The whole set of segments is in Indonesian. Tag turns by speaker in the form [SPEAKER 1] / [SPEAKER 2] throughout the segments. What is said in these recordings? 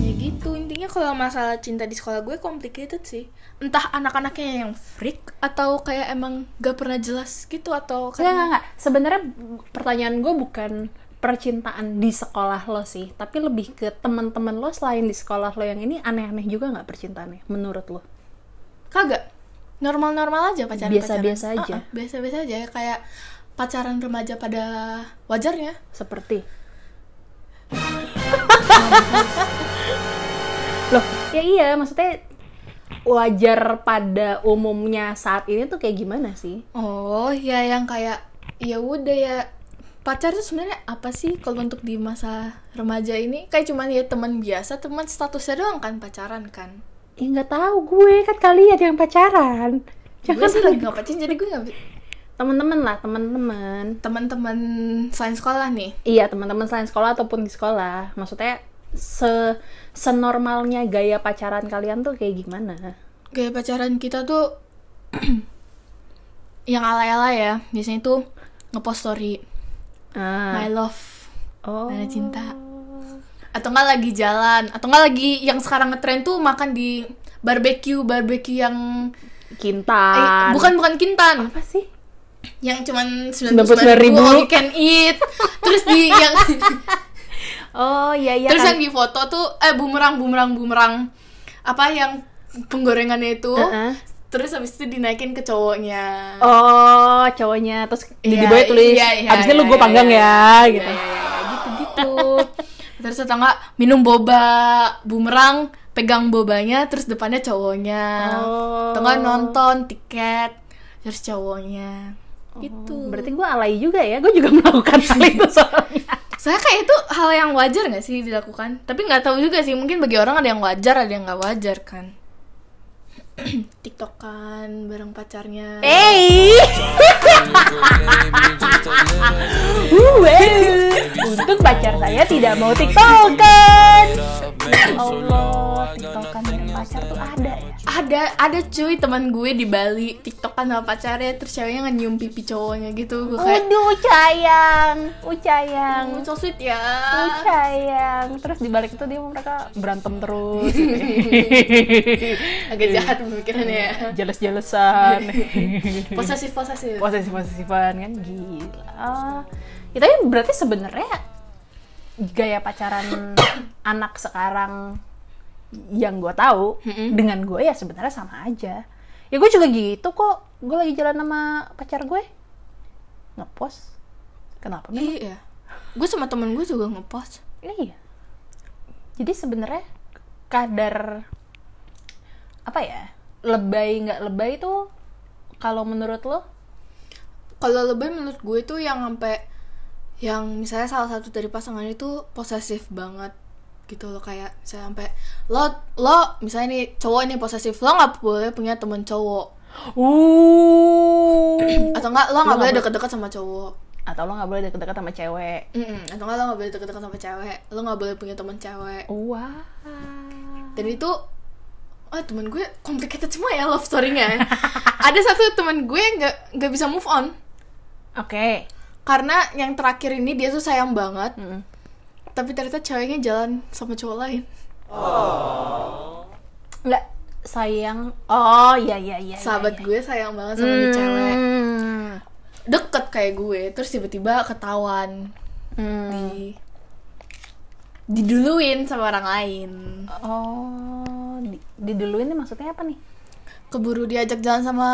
[SPEAKER 1] Ya gitu, kalau masalah cinta di sekolah gue complicated sih. Entah anak-anaknya yang freak atau kayak emang gak pernah jelas gitu atau
[SPEAKER 2] Enggak, enggak,
[SPEAKER 1] karena
[SPEAKER 2] enggak. Sebenarnya pertanyaan gue bukan percintaan di sekolah lo sih, tapi lebih ke teman-teman lo selain di sekolah lo yang ini aneh-aneh juga nggak percintaannya menurut lo?
[SPEAKER 1] kagak normal-normal aja pacaran.
[SPEAKER 2] Biasa-biasa aja.
[SPEAKER 1] biasa-biasa aja kayak pacaran remaja pada wajarnya.
[SPEAKER 2] Seperti Loh, ya iya, maksudnya wajar pada umumnya saat ini tuh kayak gimana sih?
[SPEAKER 1] Oh, ya yang kayak ya udah ya pacar tuh sebenarnya apa sih kalau untuk di masa remaja ini kayak cuman ya teman biasa teman statusnya doang kan pacaran kan
[SPEAKER 2] Ya nggak tahu gue kan kalian yang pacaran.
[SPEAKER 1] gue
[SPEAKER 2] Jangan
[SPEAKER 1] sih lagi nggak pacaran jadi gue nggak
[SPEAKER 2] teman-teman lah, teman-teman.
[SPEAKER 1] teman-teman selain sekolah nih
[SPEAKER 2] Iya, teman-teman selain sekolah ataupun di sekolah. Maksudnya se senormalnya gaya pacaran kalian tuh kayak gimana?
[SPEAKER 1] gaya pacaran kita tuh yang ala-ala ya biasanya tuh ngepost story
[SPEAKER 2] Ah.
[SPEAKER 1] my love
[SPEAKER 2] Oh.
[SPEAKER 1] mana Nah, cinta atau nggak lagi jalan atau nggak lagi yang sekarang ngetren tuh makan di barbecue barbecue yang
[SPEAKER 2] Kintan.
[SPEAKER 1] eh, bukan bukan kintan
[SPEAKER 2] apa sih?
[SPEAKER 1] yang cuman
[SPEAKER 2] 99.000.
[SPEAKER 1] 99.000 all you can eat terus di yang
[SPEAKER 2] Oh, iya iya.
[SPEAKER 1] terus
[SPEAKER 2] kan.
[SPEAKER 1] yang di foto tuh eh bumerang bumerang bumerang apa yang penggorengannya itu
[SPEAKER 2] Heeh.
[SPEAKER 1] terus habis itu dinaikin ke cowoknya
[SPEAKER 2] Oh, cowoknya terus di
[SPEAKER 1] Iya,
[SPEAKER 2] di bawah tulis
[SPEAKER 1] iya, iya,
[SPEAKER 2] abis itu lu
[SPEAKER 1] iya,
[SPEAKER 2] gue
[SPEAKER 1] iya,
[SPEAKER 2] panggang
[SPEAKER 1] iya.
[SPEAKER 2] ya gitu.
[SPEAKER 1] Iya, iya, iya, gitu-gitu. terus atau enggak minum boba bumerang, pegang bobanya terus depannya cowoknya.
[SPEAKER 2] Oh.
[SPEAKER 1] Atau enggak nonton tiket terus cowoknya. Gitu.
[SPEAKER 2] Oh, Berarti gue alay juga ya. Gue juga melakukan hal itu soalnya.
[SPEAKER 1] Saya kayak itu hal yang wajar nggak sih dilakukan? Tapi nggak tahu juga sih, mungkin bagi orang ada yang wajar, ada yang nggak wajar kan. Tiktokan bareng pacarnya.
[SPEAKER 2] Eh, Hey. Wow. Untuk pacar saya tidak mau tiktokan. Allah, tiktokan dari pacar tuh ada ya.
[SPEAKER 1] ada ada cuy teman gue di Bali tiktokan sama pacarnya terus ceweknya nyium pipi cowoknya gitu gue kayak
[SPEAKER 2] Aduh, ucayang, ucayang,
[SPEAKER 1] "Mm, so sweet ya
[SPEAKER 2] ucayang. Terus dibalik itu dia mereka berantem terus,
[SPEAKER 1] agak jahat pemikirannya ya
[SPEAKER 2] jeles-jelesan,
[SPEAKER 1] posesif posesif
[SPEAKER 2] posesif-posesifan kan gila. Itu ya berarti sebenarnya gaya pacaran anak sekarang yang gue tahu
[SPEAKER 1] Mm-mm.
[SPEAKER 2] dengan gue ya sebenarnya sama aja ya gue juga gitu kok gue lagi jalan sama pacar gue ngepost kenapa memang?
[SPEAKER 1] iya gue sama temen gue juga ngepost
[SPEAKER 2] iya jadi sebenarnya kadar apa ya lebay nggak lebay tuh kalau menurut lo
[SPEAKER 1] kalau lebih menurut gue tuh yang sampai yang misalnya salah satu dari pasangan itu posesif banget gitu loh kayak saya sampai lo lo misalnya nih cowok nih posesif lo nggak boleh punya temen cowok
[SPEAKER 2] uh
[SPEAKER 1] atau enggak lo
[SPEAKER 2] nggak
[SPEAKER 1] nggak boleh
[SPEAKER 2] boleh.
[SPEAKER 1] deket-deket sama cowok
[SPEAKER 2] atau lo nggak boleh deket-deket sama cewek
[SPEAKER 1] Mm-mm. atau nggak lo nggak boleh deket-deket sama cewek lo nggak boleh punya teman cewek
[SPEAKER 2] wah
[SPEAKER 1] dan itu oh teman gue complicated semua ya love story-nya ada satu teman gue yang nggak nggak bisa move on
[SPEAKER 2] oke
[SPEAKER 1] karena yang terakhir ini dia tuh sayang banget
[SPEAKER 2] Mm-mm.
[SPEAKER 1] tapi ternyata ceweknya jalan sama cowok lain
[SPEAKER 2] Iya, nggak sayang oh iya iya iya
[SPEAKER 1] sahabat gue sayang banget
[SPEAKER 2] iya,
[SPEAKER 1] sama
[SPEAKER 2] iya.
[SPEAKER 1] nih cewek
[SPEAKER 2] Hmm.
[SPEAKER 1] deket kayak gue terus tiba-tiba ketahuan
[SPEAKER 2] Hmm.
[SPEAKER 1] di diduluin sama orang lain
[SPEAKER 2] oh di, diduluin nih maksudnya apa nih
[SPEAKER 1] keburu diajak jalan sama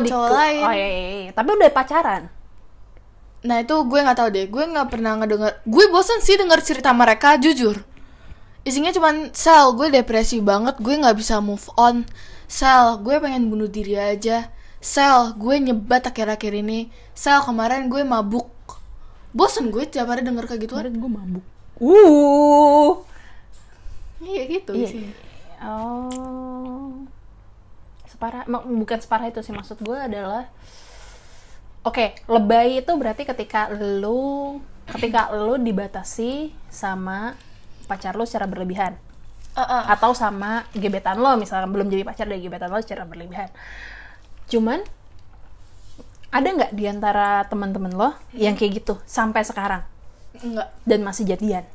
[SPEAKER 2] di-
[SPEAKER 1] cowok lain
[SPEAKER 2] oh iya, iya, iya. tapi udah pacaran
[SPEAKER 1] Nah itu gue nggak tahu deh, gue nggak pernah ngedenger. Gue bosen sih denger cerita mereka, jujur. Isinya cuman sel, gue depresi banget, gue nggak bisa move on. Sel, gue pengen bunuh diri aja. Sel, gue nyebat akhir-akhir ini. Sel, kemarin gue mabuk. Bosen gue tiap hari denger kayak gitu. gituan.
[SPEAKER 2] gue mabuk uh
[SPEAKER 1] Iya gitu
[SPEAKER 2] Iya.
[SPEAKER 1] sih.
[SPEAKER 2] oh separah mak- bukan separah itu sih maksud gue adalah oke lebay itu berarti ketika lu ketika lu dibatasi sama pacar lu secara berlebihan
[SPEAKER 1] Uh-uh.
[SPEAKER 2] atau sama gebetan lo misalkan belum jadi pacar dari gebetan lo secara berlebihan cuman ada nggak diantara teman-teman lo yang kayak gitu sampai sekarang
[SPEAKER 1] Enggak,
[SPEAKER 2] dan masih jadian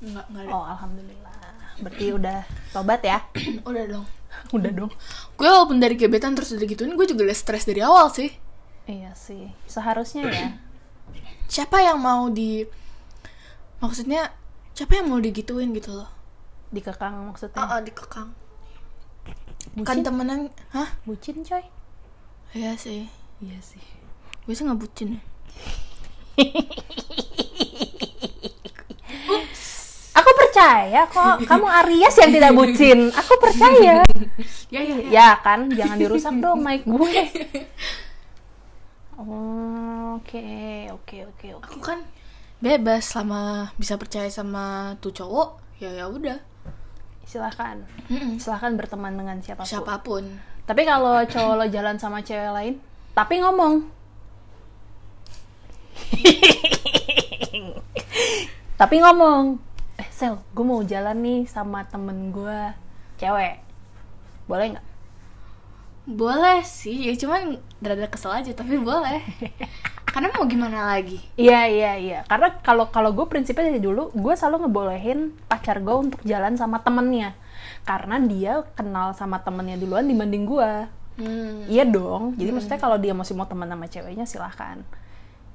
[SPEAKER 1] enggak, enggak ada.
[SPEAKER 2] oh alhamdulillah berarti udah Tobat ya.
[SPEAKER 1] Udah dong.
[SPEAKER 2] Udah dong.
[SPEAKER 1] Gue walaupun dari gebetan terus udah gituin, gue juga udah stres dari awal sih.
[SPEAKER 2] Iya sih. Seharusnya ya.
[SPEAKER 1] Siapa yang mau di... Maksudnya, siapa yang mau digituin gitu loh?
[SPEAKER 2] Dikekang maksudnya.
[SPEAKER 1] Ah, ah, dikekang. Kan
[SPEAKER 2] Bucin,
[SPEAKER 1] temenan... Hah?
[SPEAKER 2] bucin coy.
[SPEAKER 1] Iya sih.
[SPEAKER 2] Iya sih.
[SPEAKER 1] Gue sih nggak bucin ya.
[SPEAKER 2] Aku percaya kok kamu Aries yang tidak bucin. Aku percaya.
[SPEAKER 1] Ya, ya,
[SPEAKER 2] ya kan, jangan dirusak dong mic gue. Oh, Oke, oke, oke, oke.
[SPEAKER 1] Aku kan bebas selama bisa percaya sama tuh cowok, ya ya udah.
[SPEAKER 2] Silahkan,
[SPEAKER 1] Mm-mm.
[SPEAKER 2] silahkan berteman dengan siapapun.
[SPEAKER 1] Siapapun.
[SPEAKER 2] Tapi kalau cowok lo jalan sama cewek lain, tapi ngomong. tapi ngomong. Eh, Sel, gue mau jalan nih sama temen gue cewek. Boleh nggak?
[SPEAKER 1] Boleh sih, ya cuman rada kesel aja tapi boleh. Karena mau gimana lagi?
[SPEAKER 2] Iya, iya, iya. Karena kalau kalau gue prinsipnya dari dulu, gue selalu ngebolehin pacar gue untuk jalan sama temennya. Karena dia kenal sama temennya duluan dibanding gue.
[SPEAKER 1] Hmm.
[SPEAKER 2] Iya dong. Jadi maksudnya kalau dia masih mau teman sama ceweknya silahkan.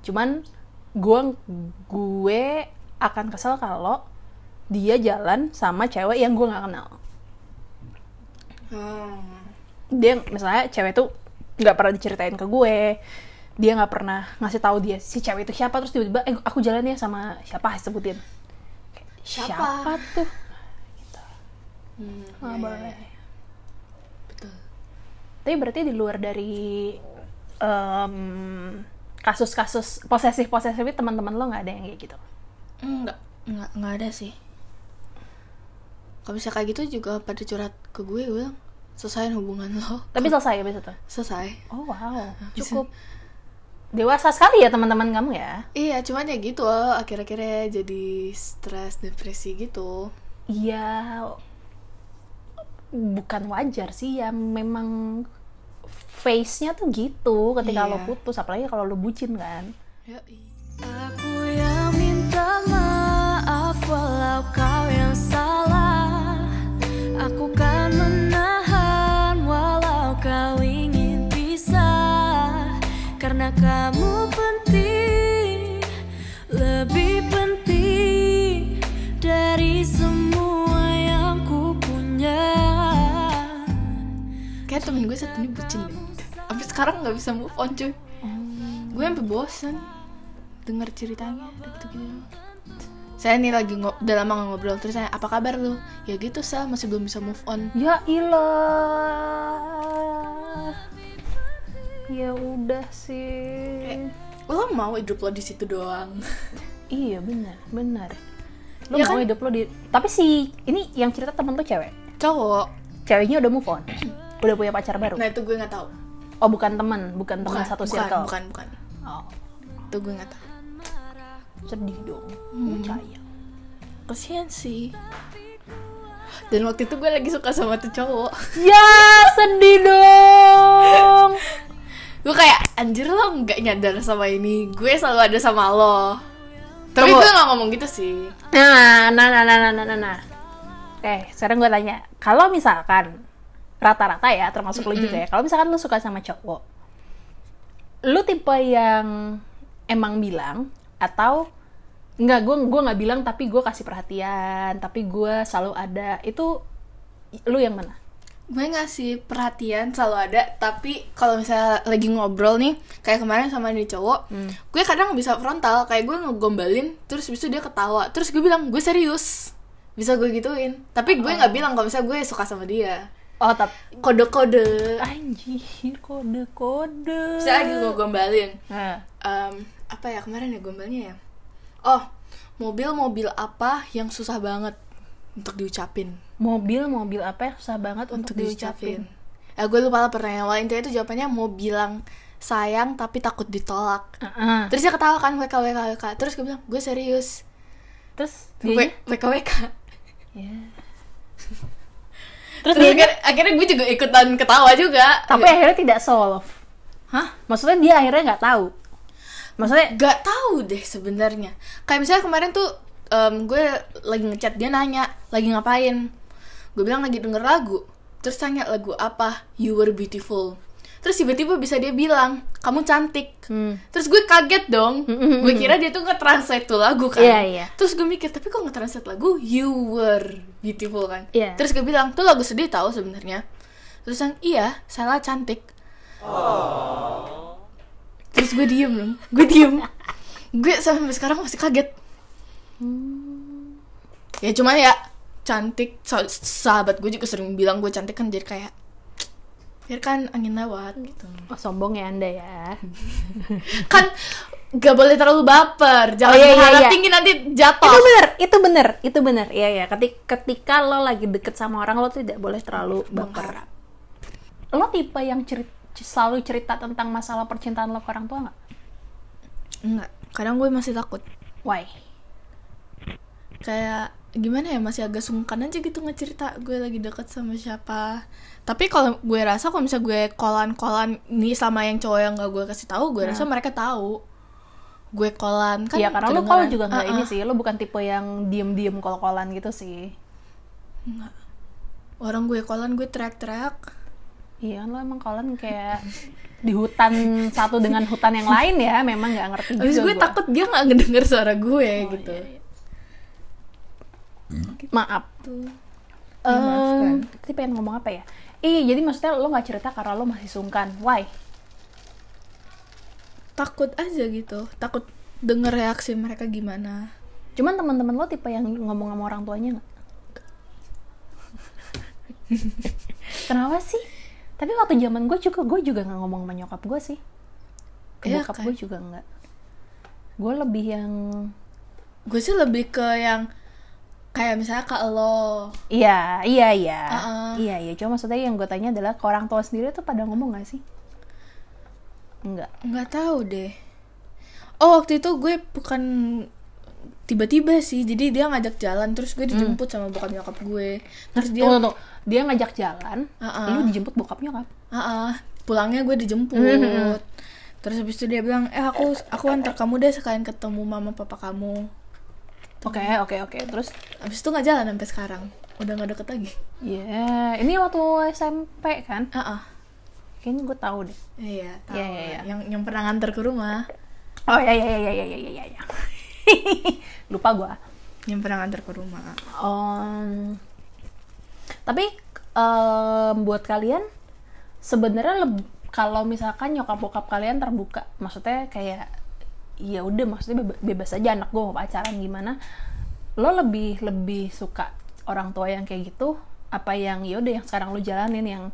[SPEAKER 2] Cuman gue gue akan kesel kalau dia jalan sama cewek yang gue nggak kenal.
[SPEAKER 1] Hmm.
[SPEAKER 2] Dia misalnya cewek tuh nggak pernah diceritain ke gue. Dia nggak pernah ngasih tahu dia si cewek itu siapa terus tiba-tiba eh aku jalan ya sama siapa sebutin. Kayak,
[SPEAKER 1] Siapa?
[SPEAKER 2] Siapa tuh?
[SPEAKER 1] Hmm, ya,
[SPEAKER 2] Nggak
[SPEAKER 1] ya,
[SPEAKER 2] boleh.
[SPEAKER 1] ya. Betul.
[SPEAKER 2] Tapi berarti di luar dari em, kasus-kasus posesif-posesif itu teman-teman lo nggak ada yang kayak gitu?
[SPEAKER 1] Enggak, enggak, enggak ada sih. Kalau bisa kayak gitu juga pada curhat ke gue, gue bilang, selesaiin hubungan lo.
[SPEAKER 2] Tapi selesai abis itu?
[SPEAKER 1] Selesai.
[SPEAKER 2] Oh wow,
[SPEAKER 1] Bisa.
[SPEAKER 2] cukup dewasa sekali ya teman-teman kamu ya?
[SPEAKER 1] Iya, cuman ya gitu, akhir-akhirnya jadi stres, depresi gitu.
[SPEAKER 2] Iya, bukan wajar sih ya, memang face-nya tuh gitu ketika
[SPEAKER 1] Iya.
[SPEAKER 2] lo putus, apalagi kalau lo bucin kan?
[SPEAKER 1] Yoi.
[SPEAKER 3] Aku yang minta maaf walau kau yang salah Aku kan menahan walau kau ingin pisah Karena kamu penting, lebih penting Dari semua yang ku punya
[SPEAKER 1] Kayak temen gue satu ini bucin deh. Tapi sekarang nggak bisa move on cuy. Gue sampai bosen denger ceritanya gitu gitu. Saya nih lagi ngo- udah lama nggak ngobrol terus saya apa kabar lu? Ya gitu sel masih belum bisa move on.
[SPEAKER 2] Ya ilah, ya udah sih.
[SPEAKER 1] Lo mau hidup lo di situ doang?
[SPEAKER 2] Iya benar, benar. Lo
[SPEAKER 1] Ya
[SPEAKER 2] mau
[SPEAKER 1] kan?
[SPEAKER 2] hidup lo di tapi si ini yang cerita temen lo cewek.
[SPEAKER 1] Cowok.
[SPEAKER 2] Ceweknya udah move on. udah punya pacar baru.
[SPEAKER 1] Nah itu gue nggak tahu.
[SPEAKER 2] Oh, bukan teman, bukan teman satu
[SPEAKER 1] bukan,
[SPEAKER 2] circle.
[SPEAKER 1] Bukan bukan.
[SPEAKER 2] Oh,
[SPEAKER 1] Itu gue nggak tahu.
[SPEAKER 2] sedih dong.
[SPEAKER 1] Hmm.
[SPEAKER 2] Percaya.
[SPEAKER 1] Kasian sih. Dan waktu itu gue lagi suka sama tuh cowok.
[SPEAKER 2] Ya, sedih dong.
[SPEAKER 1] gue kayak anjir lo nggak nyadar sama ini gue selalu ada sama lo tapi
[SPEAKER 2] Tunggu.
[SPEAKER 1] gue nggak ngomong gitu sih
[SPEAKER 2] Nah, nah, nah, nah, nah, nah, nah, nah. Oke, sekarang gue tanya, kalau misalkan rata-rata ya, termasuk lo juga ya, kalau misalkan lo suka sama cowok, lo tipe yang emang bilang atau nggak gue gue nggak bilang tapi gue kasih perhatian tapi gue selalu ada itu lu yang mana
[SPEAKER 1] gue ngasih perhatian selalu ada tapi kalau misalnya lagi ngobrol nih kayak kemarin sama ini cowok gue kadang bisa frontal kayak gue ngegombalin terus bisu dia ketawa terus gue bilang gue serius bisa gue gituin tapi gue nggak bilang kalau misalnya gue suka sama dia
[SPEAKER 2] oh tapi
[SPEAKER 1] kode-kode
[SPEAKER 2] anjir kode kode
[SPEAKER 1] misalnya lagi gue gombalin
[SPEAKER 2] nah,
[SPEAKER 1] Em, apa ya kemarin ya gombalnya ya oh mobil-mobil apa yang susah banget untuk diucapin
[SPEAKER 2] mobil mobil apa ya susah banget untuk, diucapin
[SPEAKER 1] ya gue lupa lah pertanyaan awal intinya itu jawabannya mau bilang sayang tapi takut ditolak
[SPEAKER 2] Heeh.
[SPEAKER 1] terus dia ketawa kan wkwkwk terus gue bilang gue serius
[SPEAKER 2] terus
[SPEAKER 1] gue
[SPEAKER 2] dia
[SPEAKER 1] wkwk
[SPEAKER 2] Ya. terus, kan-
[SPEAKER 1] terus
[SPEAKER 2] dianya-
[SPEAKER 1] akhirnya, akhirnya gue juga ikutan ketawa juga
[SPEAKER 2] tapi akhirnya tidak solve
[SPEAKER 1] hah
[SPEAKER 2] maksudnya dia akhirnya nggak tahu maksudnya
[SPEAKER 1] gak tahu deh sebenarnya kayak misalnya kemarin tuh em, gue lagi ngechat dia nanya lagi ngapain gue bilang lagi denger lagu terus tanya lagu apa you were beautiful terus tiba-tiba bisa dia bilang kamu cantik
[SPEAKER 2] hmm,
[SPEAKER 1] terus gue kaget dong gue kira dia tuh nge-translate tuh lagu kan
[SPEAKER 2] Iya, iya.
[SPEAKER 1] terus gue mikir tapi kok nge-translate lagu you were beautiful kan
[SPEAKER 2] Iya.
[SPEAKER 1] terus gue bilang tuh lagu sedih tahu sebenarnya terus yang iya salah cantik terus gue diem dong gue diem gue sampai sekarang masih kaget
[SPEAKER 2] Hmm.
[SPEAKER 1] ya cuman ya cantik sa- sahabat gue juga sering bilang gue cantik kan jadi kayak biarkan angin lewat gitu
[SPEAKER 2] Oh, sombong ya anda ya.
[SPEAKER 1] kan gak boleh terlalu baper jangan
[SPEAKER 2] Oh, iya, iya,
[SPEAKER 1] berharap
[SPEAKER 2] iya.
[SPEAKER 1] tinggi nanti
[SPEAKER 2] Itu
[SPEAKER 1] jatuh
[SPEAKER 2] bener, itu bener, itu bener. Iya ya. Ketika, ketika lo lagi deket sama orang lo tidak boleh terlalu baper.
[SPEAKER 1] Mengharap.
[SPEAKER 2] Lo tipe yang cerit- selalu cerita tentang masalah percintaan lo ke orang tua nggak?
[SPEAKER 1] enggak kadang gue masih takut
[SPEAKER 2] Why?
[SPEAKER 1] kayak gimana ya masih agak sungkan aja gitu ngecerita gue lagi deket sama siapa tapi kalau gue rasa kalau misalnya gue kolan-kolan nih sama yang cowok yang gak gue kasih tahu gue rasa mereka tahu gue kolan kan
[SPEAKER 2] Iya karena lo
[SPEAKER 1] kedengeran.
[SPEAKER 2] kalau juga nggak
[SPEAKER 1] Ah,
[SPEAKER 2] ini
[SPEAKER 1] ah.
[SPEAKER 2] sih, lo bukan tipe yang diem-diem kol-kolan gitu sih.
[SPEAKER 1] orang gue kolan gue teriak-teriak
[SPEAKER 2] Iya kan lo emang kolan kayak di hutan satu dengan hutan yang lain ya, memang nggak ngerti juga.
[SPEAKER 1] Habis gue
[SPEAKER 2] gua.
[SPEAKER 1] takut dia nggak ngedenger suara gue gitu
[SPEAKER 2] Maaf.
[SPEAKER 1] Iya, Dimaafkan.
[SPEAKER 2] Em, Tadi pengen ngomong apa ya? Iya, jadi maksudnya lo nggak cerita karena lo masih sungkan. Why?
[SPEAKER 1] takut aja gitu takut denger reaksi mereka gimana
[SPEAKER 2] Cuman teman-teman lo tipe yang ngomong sama orang tuanya nggak? Kenapa sih? Tapi waktu zaman gue juga gue juga nggak ngomong sama nyokap gue sih. Ke
[SPEAKER 1] Iya
[SPEAKER 2] bokap
[SPEAKER 1] kan?
[SPEAKER 2] gue juga nggak. Gue lebih yang
[SPEAKER 1] gue sih lebih ke yang kayak misalnya kak lo
[SPEAKER 2] Iya, iya, iya.
[SPEAKER 1] Uh-uh.
[SPEAKER 2] Iya, iya. Cuma maksudnya yang gue tanya adalah ke orang tua sendiri tuh pada ngomong gak sih? Enggak.
[SPEAKER 1] nggak tahu deh oh waktu itu gue bukan tiba-tiba sih jadi dia ngajak jalan terus gue dijemput sama bokap nyokap gue terus dia
[SPEAKER 2] Tunggu, tunggu. Dia ngajak jalan,
[SPEAKER 1] Uh-uh.
[SPEAKER 2] lu dijemput bokap nyokap.
[SPEAKER 1] Ah, ah, pulangnya gue dijemput. hmm. Terus habis itu dia bilang, "Eh, aku aku antar kamu deh sekalian ketemu mama papa kamu."
[SPEAKER 2] Oke, oke, oke. Terus
[SPEAKER 1] Habis itu nggak jalan sampai sekarang. Udah nggak deket lagi.
[SPEAKER 2] ya, ini waktu SMP kan?
[SPEAKER 1] Ah, ah.
[SPEAKER 2] Kayaknya gue tahu deh.
[SPEAKER 1] Iya, tahu.
[SPEAKER 2] Iya, iya,
[SPEAKER 1] lah.
[SPEAKER 2] iya.
[SPEAKER 1] Yang yang pernah nganter ke rumah,
[SPEAKER 2] Oh ya ya ya ya ya ya ya, ya ya. Lupa gue.
[SPEAKER 1] yang pernah nganter ke rumah.
[SPEAKER 2] Em, tapi em, buat kalian sebenarnya leb- kalau misalkan nyokap bokap kalian terbuka, maksudnya kayak ya udah maksudnya beba- bebas aja anak gue mau pacaran gimana. Lo lebih lebih suka orang tua yang kayak gitu apa yang ya udah yang sekarang lo jalanin yang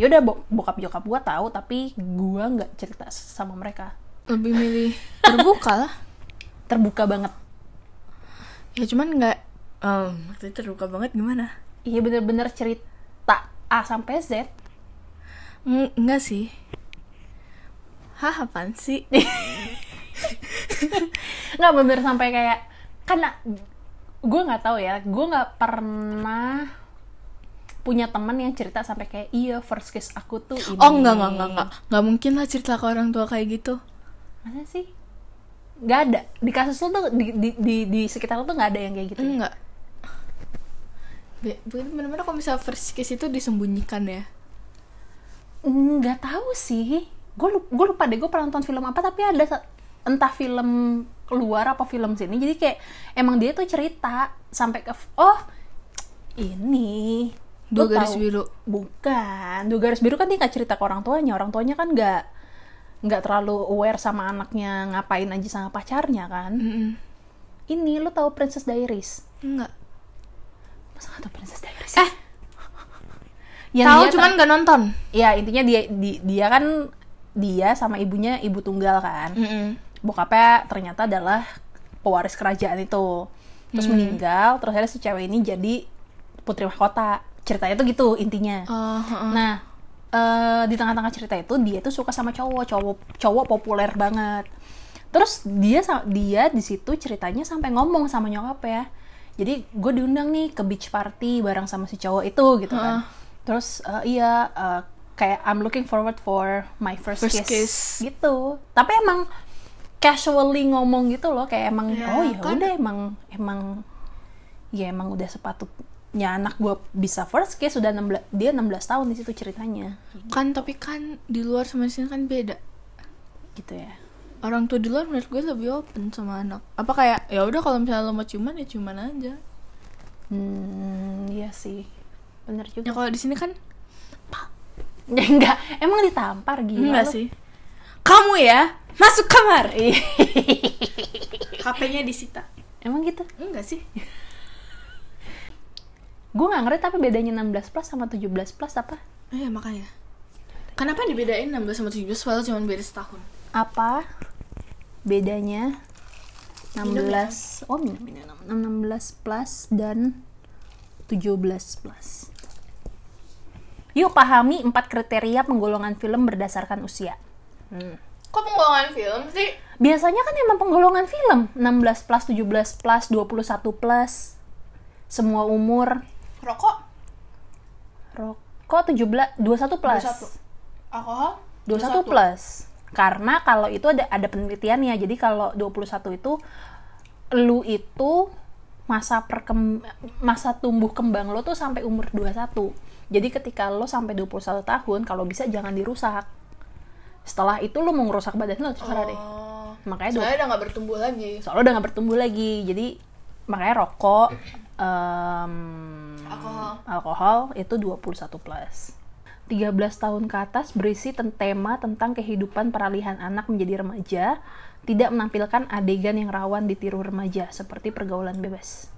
[SPEAKER 2] ya udah bo- bokap nyokap gue tahu tapi gue nggak cerita sama mereka
[SPEAKER 1] Lebih milih terbuka lah.
[SPEAKER 2] terbuka banget
[SPEAKER 1] Ya cuman nggak em waktu itu terbuka banget gimana?
[SPEAKER 2] Iya bener-bener cerita A sampai Z.
[SPEAKER 1] Mm, enggak sih. Eh, Hah, apaan sih?
[SPEAKER 2] Nggak bener sampai kayak karena gue nggak tahu ya, gue nggak pernah punya teman yang cerita sampai kayak iya first kiss aku tuh ini.
[SPEAKER 1] Oh, enggak, enggak, enggak, enggak. Enggak mungkin lah cerita ke orang tua kayak gitu.
[SPEAKER 2] Masa sih? Nggak ada. Di kasus lu tuh di di di, di sekitar lu tuh nggak ada yang kayak gitu.
[SPEAKER 1] Enggak. Be- bener-bener kalau misalnya first kiss itu disembunyikan ya. Mm.
[SPEAKER 2] Nggak tahu sih. Gue gue lupa deh gue pernah nonton film apa tapi ada sa- entah film keluar apa film sini. Jadi kayak emang dia tuh cerita sampai ke oh ini
[SPEAKER 1] Dua
[SPEAKER 2] Lu
[SPEAKER 1] garis
[SPEAKER 2] tahu-
[SPEAKER 1] biru.
[SPEAKER 2] Bukan, dua garis biru kan dia nggak cerita ke orang tuanya. Orang tuanya kan nggak nggak terlalu aware sama anaknya ngapain aja sama pacarnya kan.
[SPEAKER 1] Mm-mm.
[SPEAKER 2] Ini lu tahu Princess Diaries?
[SPEAKER 1] Enggak.
[SPEAKER 2] Masa nggak tahu Princess Diaries?
[SPEAKER 1] Eh, tahu
[SPEAKER 2] Yang dia- kan-
[SPEAKER 1] cuman nggak nonton.
[SPEAKER 2] ya intinya dia di- dia kan dia sama ibunya ibu tunggal kan. Bokapnya ternyata adalah pewaris kerajaan itu. Terus meninggal, terus akhirnya si cewek ini jadi putri mahkota. Ceritanya tuh gitu intinya.
[SPEAKER 1] Oh, heeh.
[SPEAKER 2] Nah, eh, di tengah-tengah cerita itu dia tuh suka sama cowok, cowok cowok populer banget. Terus dia sa- dia di situ ceritanya sampai ngomong sama nyokap ya. Jadi gue diundang nih ke beach party bareng sama si cowok itu gitu kan. Terus eh, iya eh, kayak I'm looking forward for my first,
[SPEAKER 1] First kiss.
[SPEAKER 2] gitu. Tapi emang casually ngomong gitu loh kayak emang
[SPEAKER 1] Ya,
[SPEAKER 2] oh ya
[SPEAKER 1] kan.
[SPEAKER 2] udah emang emang ya emang udah sepatut ya anak gue bisa first kiss sudah 16 dia 16 tahun di situ ceritanya
[SPEAKER 1] kan tapi kan di luar sama di sini kan beda
[SPEAKER 2] gitu ya
[SPEAKER 1] orang tua di luar menurut gue lebih open sama anak apa kayak ya udah kalau misalnya lo mau ciuman ya ciuman aja
[SPEAKER 2] hmm iya sih bener
[SPEAKER 1] ya
[SPEAKER 2] juga
[SPEAKER 1] kalau di sini kan
[SPEAKER 2] ya enggak emang ditampar gitu
[SPEAKER 1] enggak sih kamu ya masuk kamar HP-nya disita
[SPEAKER 2] emang gitu
[SPEAKER 1] enggak sih
[SPEAKER 2] gue nggak ngerti tapi bedanya 16 plus sama 17 plus apa
[SPEAKER 1] iya makanya kenapa dibedain 16 sama 17 padahal cuma beda setahun
[SPEAKER 2] apa bedanya 16
[SPEAKER 1] Minum ya?
[SPEAKER 2] oh minum minum 16 plus dan 17 plus yuk pahami empat kriteria penggolongan film berdasarkan usia
[SPEAKER 1] kok penggolongan film sih
[SPEAKER 2] biasanya kan emang penggolongan film 16 plus 17 plus 21 plus semua umur
[SPEAKER 1] rokok
[SPEAKER 2] rokok 17 21 plus
[SPEAKER 1] 21 alkohol
[SPEAKER 2] 21 plus karena kalau itu ada ada penelitiannya jadi kalau 21 itu lu itu masa perkem masa tumbuh kembang lo tuh sampai umur 21 jadi ketika lo sampai 21 tahun kalau bisa jangan dirusak setelah itu lo mau ngerusak badan lo terserah deh
[SPEAKER 1] Oh.
[SPEAKER 2] makanya dua-
[SPEAKER 1] Soalnya udah gak bertumbuh lagi
[SPEAKER 2] soalnya udah gak bertumbuh lagi jadi makanya rokok em,
[SPEAKER 1] Alkohol.
[SPEAKER 2] alkohol itu 21 plus 13 tahun ke atas berisi ten- tema tentang kehidupan peralihan anak menjadi remaja tidak menampilkan adegan yang rawan ditiru remaja seperti pergaulan bebas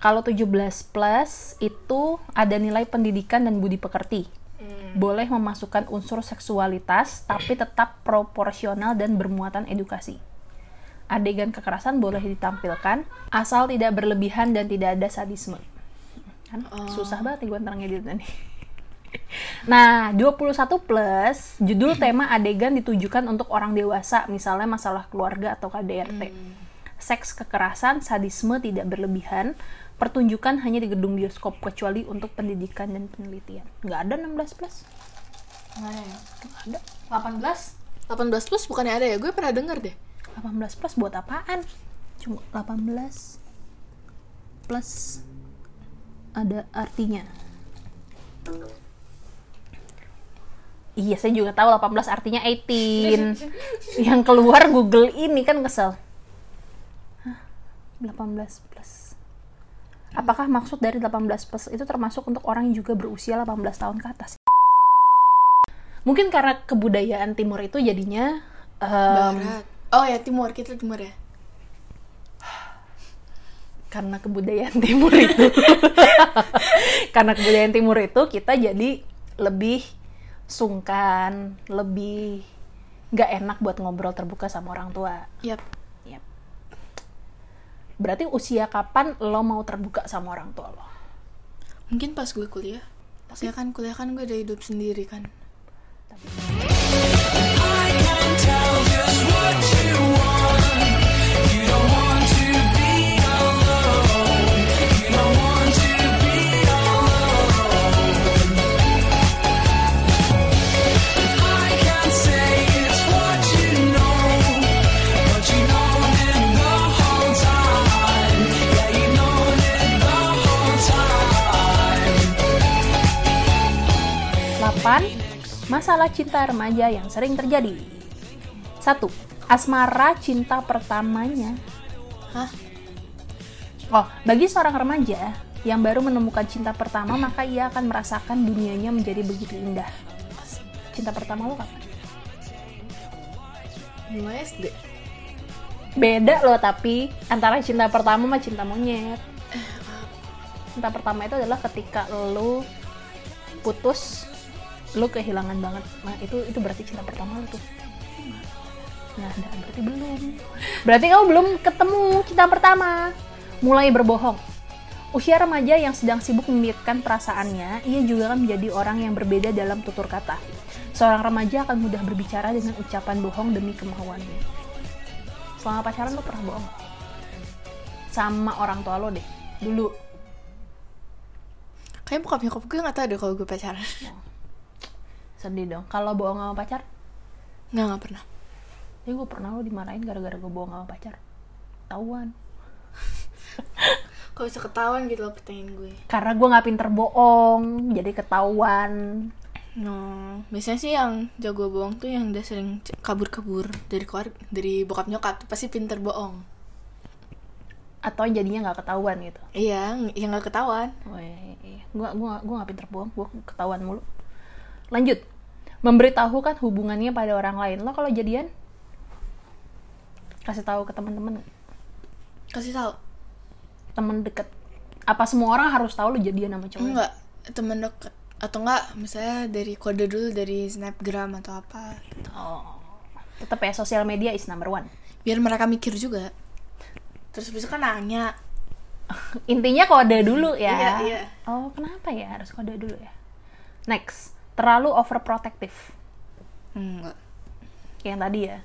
[SPEAKER 2] kalau 17 plus itu ada nilai pendidikan dan budi pekerti boleh memasukkan unsur seksualitas tapi tetap proporsional dan bermuatan edukasi adegan kekerasan boleh ditampilkan asal tidak berlebihan dan tidak ada sadisme kan susah banget nih gue nerangnya di nih Nah, 21 plus judul tema adegan ditujukan untuk orang dewasa, misalnya masalah keluarga atau KDRT. Seks kekerasan, sadisme tidak berlebihan, pertunjukan hanya di gedung bioskop kecuali untuk pendidikan dan penelitian. Nggak ada 16 plus?
[SPEAKER 1] Mana ya?
[SPEAKER 2] Nggak ada.
[SPEAKER 1] 18 18 plus bukannya ada ya gue pernah denger deh
[SPEAKER 2] 18 plus buat apaan? Cuma 18 plus ada artinya. Iya, saya juga tahu 18 artinya 18. Yang keluar Google ini kan kesel. Hah, 18 plus. Apakah maksud dari 18 plus itu termasuk untuk orang yang juga berusia 18 tahun ke atas? Mungkin karena kebudayaan timur itu jadinya em,
[SPEAKER 1] Barat Oh ya timur kita timur ya
[SPEAKER 2] karena kebudayaan timur itu karena kebudayaan timur itu kita jadi lebih sungkan lebih nggak enak buat ngobrol terbuka sama orang tua
[SPEAKER 1] Yap
[SPEAKER 2] Yap. berarti usia kapan lo mau terbuka sama orang tua lo
[SPEAKER 1] Mungkin pas gue kuliah Saya kan kuliah kan gue udah hidup sendiri kan
[SPEAKER 4] Time.
[SPEAKER 2] 8. Masalah cinta remaja yang sering terjadi 1. Asmara cinta pertamanya
[SPEAKER 1] Hah?
[SPEAKER 2] Oh, bagi seorang remaja yang baru menemukan cinta pertama, maka ia akan merasakan dunianya menjadi begitu indah. Cinta pertama lo kapan?
[SPEAKER 1] Lima SD
[SPEAKER 2] Beda loh tapi antara cinta pertama sama cinta monyet. Cinta pertama itu adalah ketika lo putus, lo kehilangan banget. Nah itu itu berarti cinta pertama lo tuh. Nah, ada berarti belum. Berarti kamu belum ketemu cinta pertama. Mulai berbohong. Usia remaja yang sedang sibuk memikirkan perasaannya, ia juga akan menjadi orang yang berbeda dalam tutur kata. Seorang remaja akan mudah berbicara dengan ucapan bohong demi kemauannya. Selama pacaran lo pernah bohong? Sama orang tua lo deh, dulu.
[SPEAKER 1] Kayaknya bokap nyokap gue gak tau deh kalau gue pacaran
[SPEAKER 2] Sedih dong. Kalau bohong sama pacar,
[SPEAKER 1] Nggak, nggak pernah
[SPEAKER 2] ya gue pernah lo dimarahin gara-gara gue bohong sama pacar. Tauan.
[SPEAKER 1] Kok bisa ketahuan gitu loh pertanyaan gue
[SPEAKER 2] Karena gue nggak pinter bohong, jadi ketahuan.
[SPEAKER 1] No, biasanya sih yang jago bohong tuh yang udah sering c- kabur-kabur dari keluar dari bokap nyokap tuh pasti pinter bohong.
[SPEAKER 2] Atau jadinya nggak ketahuan gitu. Oh,
[SPEAKER 1] Iya, ng- yang gak ketahuan.
[SPEAKER 2] Woi, iya. gua gua gua nggak pinter bohong, gua ketahuan mulu. Lanjut, memberitahukan hubungannya pada orang lain. Lo kalau jadian kasih tahu ke teman-teman,
[SPEAKER 1] Kasih tahu?
[SPEAKER 2] teman deket. Apa semua orang harus tahu lo jadian sama cowok?
[SPEAKER 1] Enggak, temen deket atau enggak misalnya dari kode dulu dari snapgram atau apa
[SPEAKER 2] Oh, tetap ya sosial media is number one.
[SPEAKER 1] biar mereka mikir juga terus besok kan nanya
[SPEAKER 2] Intinya kode dulu ya.
[SPEAKER 1] Iya, iya.
[SPEAKER 2] Oh, kenapa ya harus kode dulu ya? Next, terlalu overprotective.
[SPEAKER 1] enggak
[SPEAKER 2] Kayak yang tadi ya.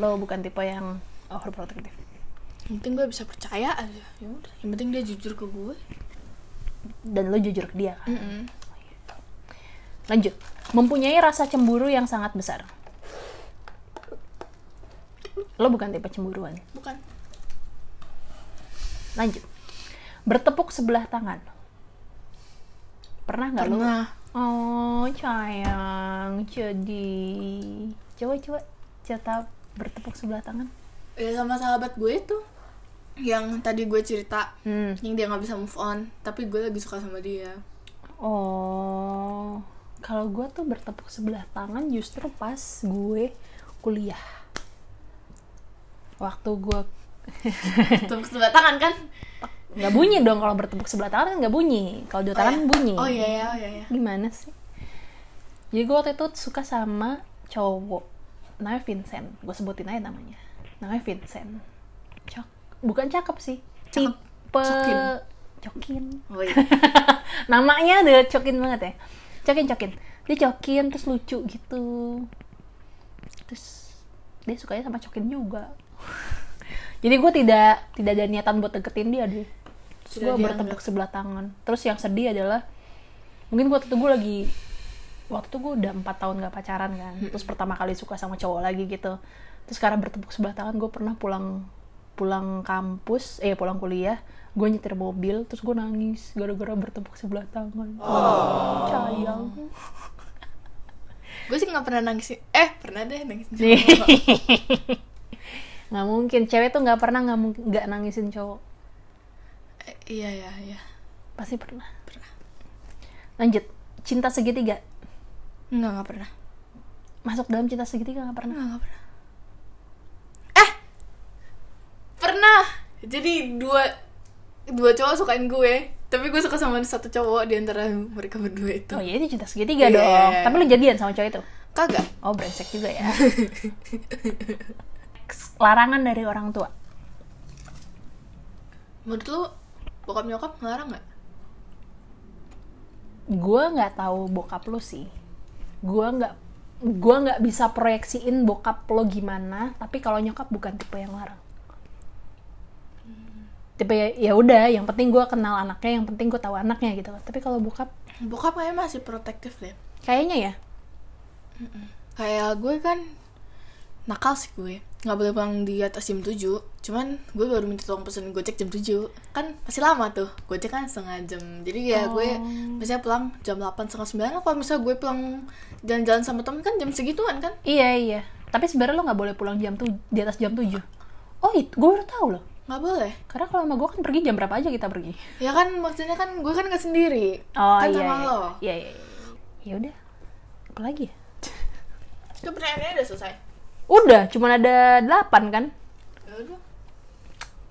[SPEAKER 2] Lo bukan tipe yang overprotective.
[SPEAKER 1] yang penting gue bisa percaya aja ya udah yang penting dia jujur ke gue
[SPEAKER 2] Dan lo jujur ke dia kan? Lanjut. Mempunyai rasa cemburu yang sangat besar. Lo bukan tipe cemburuan.
[SPEAKER 1] bukan
[SPEAKER 2] Lanjut. Bertepuk sebelah tangan. Pernah nggak lo?
[SPEAKER 1] pernah
[SPEAKER 2] Oh, sayang. Jadi, coba-coba cerita bertepuk sebelah tangan.
[SPEAKER 1] ya sama sahabat gue tuh yang tadi gue cerita
[SPEAKER 2] Hmm.
[SPEAKER 1] yang dia nggak bisa move on tapi gue lagi suka sama dia
[SPEAKER 2] Oh, kalau gue tuh bertepuk sebelah tangan justru pas gue kuliah. Waktu gue
[SPEAKER 1] tepuk sebelah tangan kan
[SPEAKER 2] nggak bunyi dong kalau bertepuk sebelah tangan kan nggak bunyi. Kalau dua tangan bunyi.
[SPEAKER 1] oh iya ya oh iya ya
[SPEAKER 2] Gimana sih? Jadi gue waktu itu suka sama cowok namanya Vincent. Gue sebutin aja namanya. Namanya Vincent. Cak bukan cakep sih.
[SPEAKER 1] Cakep.
[SPEAKER 2] Tipe
[SPEAKER 1] Cokin.
[SPEAKER 2] cokin.
[SPEAKER 1] oh iya
[SPEAKER 2] namanya udah cokin banget ya cokin cokin dia cokin terus lucu gitu terus dia sukanya sama cokin juga jadi gue tidak tidak ada niatan buat deketin dia deh
[SPEAKER 1] Tidak
[SPEAKER 2] terus gue
[SPEAKER 1] dianggap.
[SPEAKER 2] bertepuk sebelah tangan terus yang sedih adalah mungkin waktu itu gue lagi waktu itu gue udah empat tahun gak pacaran kan terus pertama kali suka sama cowok lagi gitu terus karena bertepuk sebelah tangan gue pernah pulang pulang kampus eh pulang kuliah gue nyetir mobil terus gue nangis gara-gara bertepuk sebelah tangan
[SPEAKER 1] Oh.
[SPEAKER 2] sayang
[SPEAKER 1] gue sih nggak pernah nangis sih. eh pernah deh nangis
[SPEAKER 2] Nih. nggak mungkin cewek tuh nggak pernah nggak mung- nggak nangisin cowok
[SPEAKER 1] Eh, iya iya iya
[SPEAKER 2] pasti pernah
[SPEAKER 1] Pernah.
[SPEAKER 2] lanjut cinta segitiga
[SPEAKER 1] nggak nggak pernah
[SPEAKER 2] masuk dalam cinta segitiga nggak pernah
[SPEAKER 1] nggak nggak pernah eh pernah jadi dua dua cowok sukain gue tapi gue suka sama satu cowok di antara mereka berdua itu
[SPEAKER 2] oh ya itu cinta segitiga
[SPEAKER 1] Iya.
[SPEAKER 2] dong tapi lu jadian sama cowok itu
[SPEAKER 1] kagak
[SPEAKER 2] oh brengsek juga ya larangan dari orang tua
[SPEAKER 1] menurut lu bokap nyokap ngelarang nggak
[SPEAKER 2] gue nggak tahu bokap lo sih gue nggak gue nggak bisa proyeksiin bokap lo gimana tapi kalau nyokap bukan tipe yang larang tipe ya ya udah yang penting gue kenal anaknya yang penting gue tahu anaknya gitu tapi kalau bokap
[SPEAKER 1] bokap kayaknya masih protektif deh
[SPEAKER 2] kayaknya ya
[SPEAKER 1] kayak gue kan nakal sih gue nggak boleh pulang di atas jam 7 cuman gue baru minta tolong pesen gojek jam 7 kan masih lama tuh gojek kan setengah jam jadi ya gue
[SPEAKER 2] Oh.
[SPEAKER 1] biasanya pulang jam 8 setengah 9 kalau misalnya gue pulang jalan-jalan sama temen kan jam segituan kan
[SPEAKER 2] iya iya tapi sebenarnya lo nggak boleh pulang jam tuh di atas jam 7 oh itu gue baru tahu loh
[SPEAKER 1] nggak boleh
[SPEAKER 2] karena kalau sama gue kan pergi jam berapa aja kita pergi
[SPEAKER 1] ya kan maksudnya kan gue kan nggak sendiri
[SPEAKER 2] oh
[SPEAKER 1] kan
[SPEAKER 2] iya
[SPEAKER 1] sama
[SPEAKER 2] iya
[SPEAKER 1] lo
[SPEAKER 2] iya iya iya. ya udah apa lagi ya
[SPEAKER 1] itu pertanyaannya udah selesai
[SPEAKER 2] udah cuman ada 8 kan
[SPEAKER 1] ya udah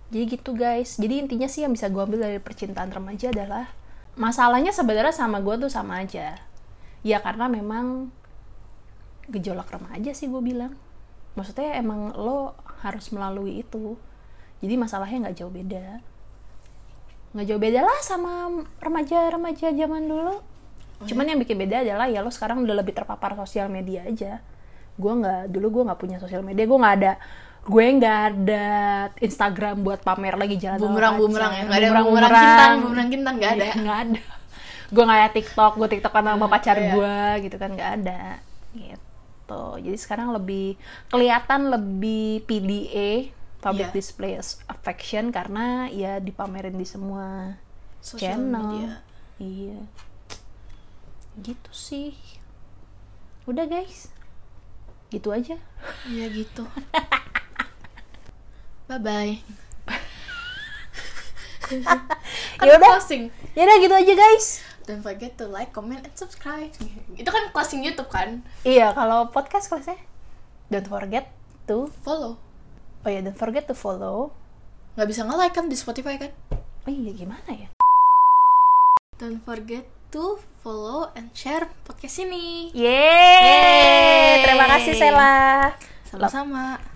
[SPEAKER 2] Jadi gitu guys. Jadi intinya sih yang bisa gue ambil dari percintaan remaja adalah masalahnya sebenarnya sama gue tuh sama aja. Ya karena memang gejolak remaja sih gue bilang. Maksudnya emang lo harus melalui itu. Jadi masalahnya nggak jauh beda. Nggak jauh beda lah sama remaja-remaja zaman dulu.
[SPEAKER 1] Oh,
[SPEAKER 2] Cuman yang bikin beda adalah ya lo sekarang udah lebih terpapar sosial media aja. Gue nggak dulu gue nggak punya sosial media, gue nggak ada gue nggak ada Instagram buat pamer lagi jalan sama
[SPEAKER 1] bumerang bumerang ya
[SPEAKER 2] pacar.
[SPEAKER 1] nggak ada bumerang, bumerang
[SPEAKER 2] Bumerang-bumerang.
[SPEAKER 1] kintan bumerang kintan nggak ada
[SPEAKER 2] Iya, nggak ada gue nggak ada TikTok gue TikTokan sama pacar
[SPEAKER 1] Iya.
[SPEAKER 2] gue gitu kan nggak ada gitu jadi sekarang lebih kelihatan lebih PDA public
[SPEAKER 1] Iya.
[SPEAKER 2] display as affection karena ya dipamerin di semua
[SPEAKER 1] Social
[SPEAKER 2] channel.
[SPEAKER 1] media.
[SPEAKER 2] Iya. Gitu sih. Udah guys. Gitu aja.
[SPEAKER 1] Iya gitu. bye bye. kan
[SPEAKER 2] Yaudah.
[SPEAKER 1] closing.
[SPEAKER 2] Ya udah gitu aja guys.
[SPEAKER 1] Don't forget to like, comment, and subscribe. Itu kan closing YouTube kan?
[SPEAKER 2] Iya, kalau podcast kelasnya don't forget to
[SPEAKER 1] Follow.
[SPEAKER 2] oh ya don't forget to follow.
[SPEAKER 1] Nggak bisa nge-like kan di Spotify kan?
[SPEAKER 2] Oh iya gimana ya?
[SPEAKER 1] Don't forget to follow and share podcast ini.
[SPEAKER 2] Yeay!
[SPEAKER 1] Yeay.
[SPEAKER 2] Terima kasih Sela.
[SPEAKER 1] Sama-sama.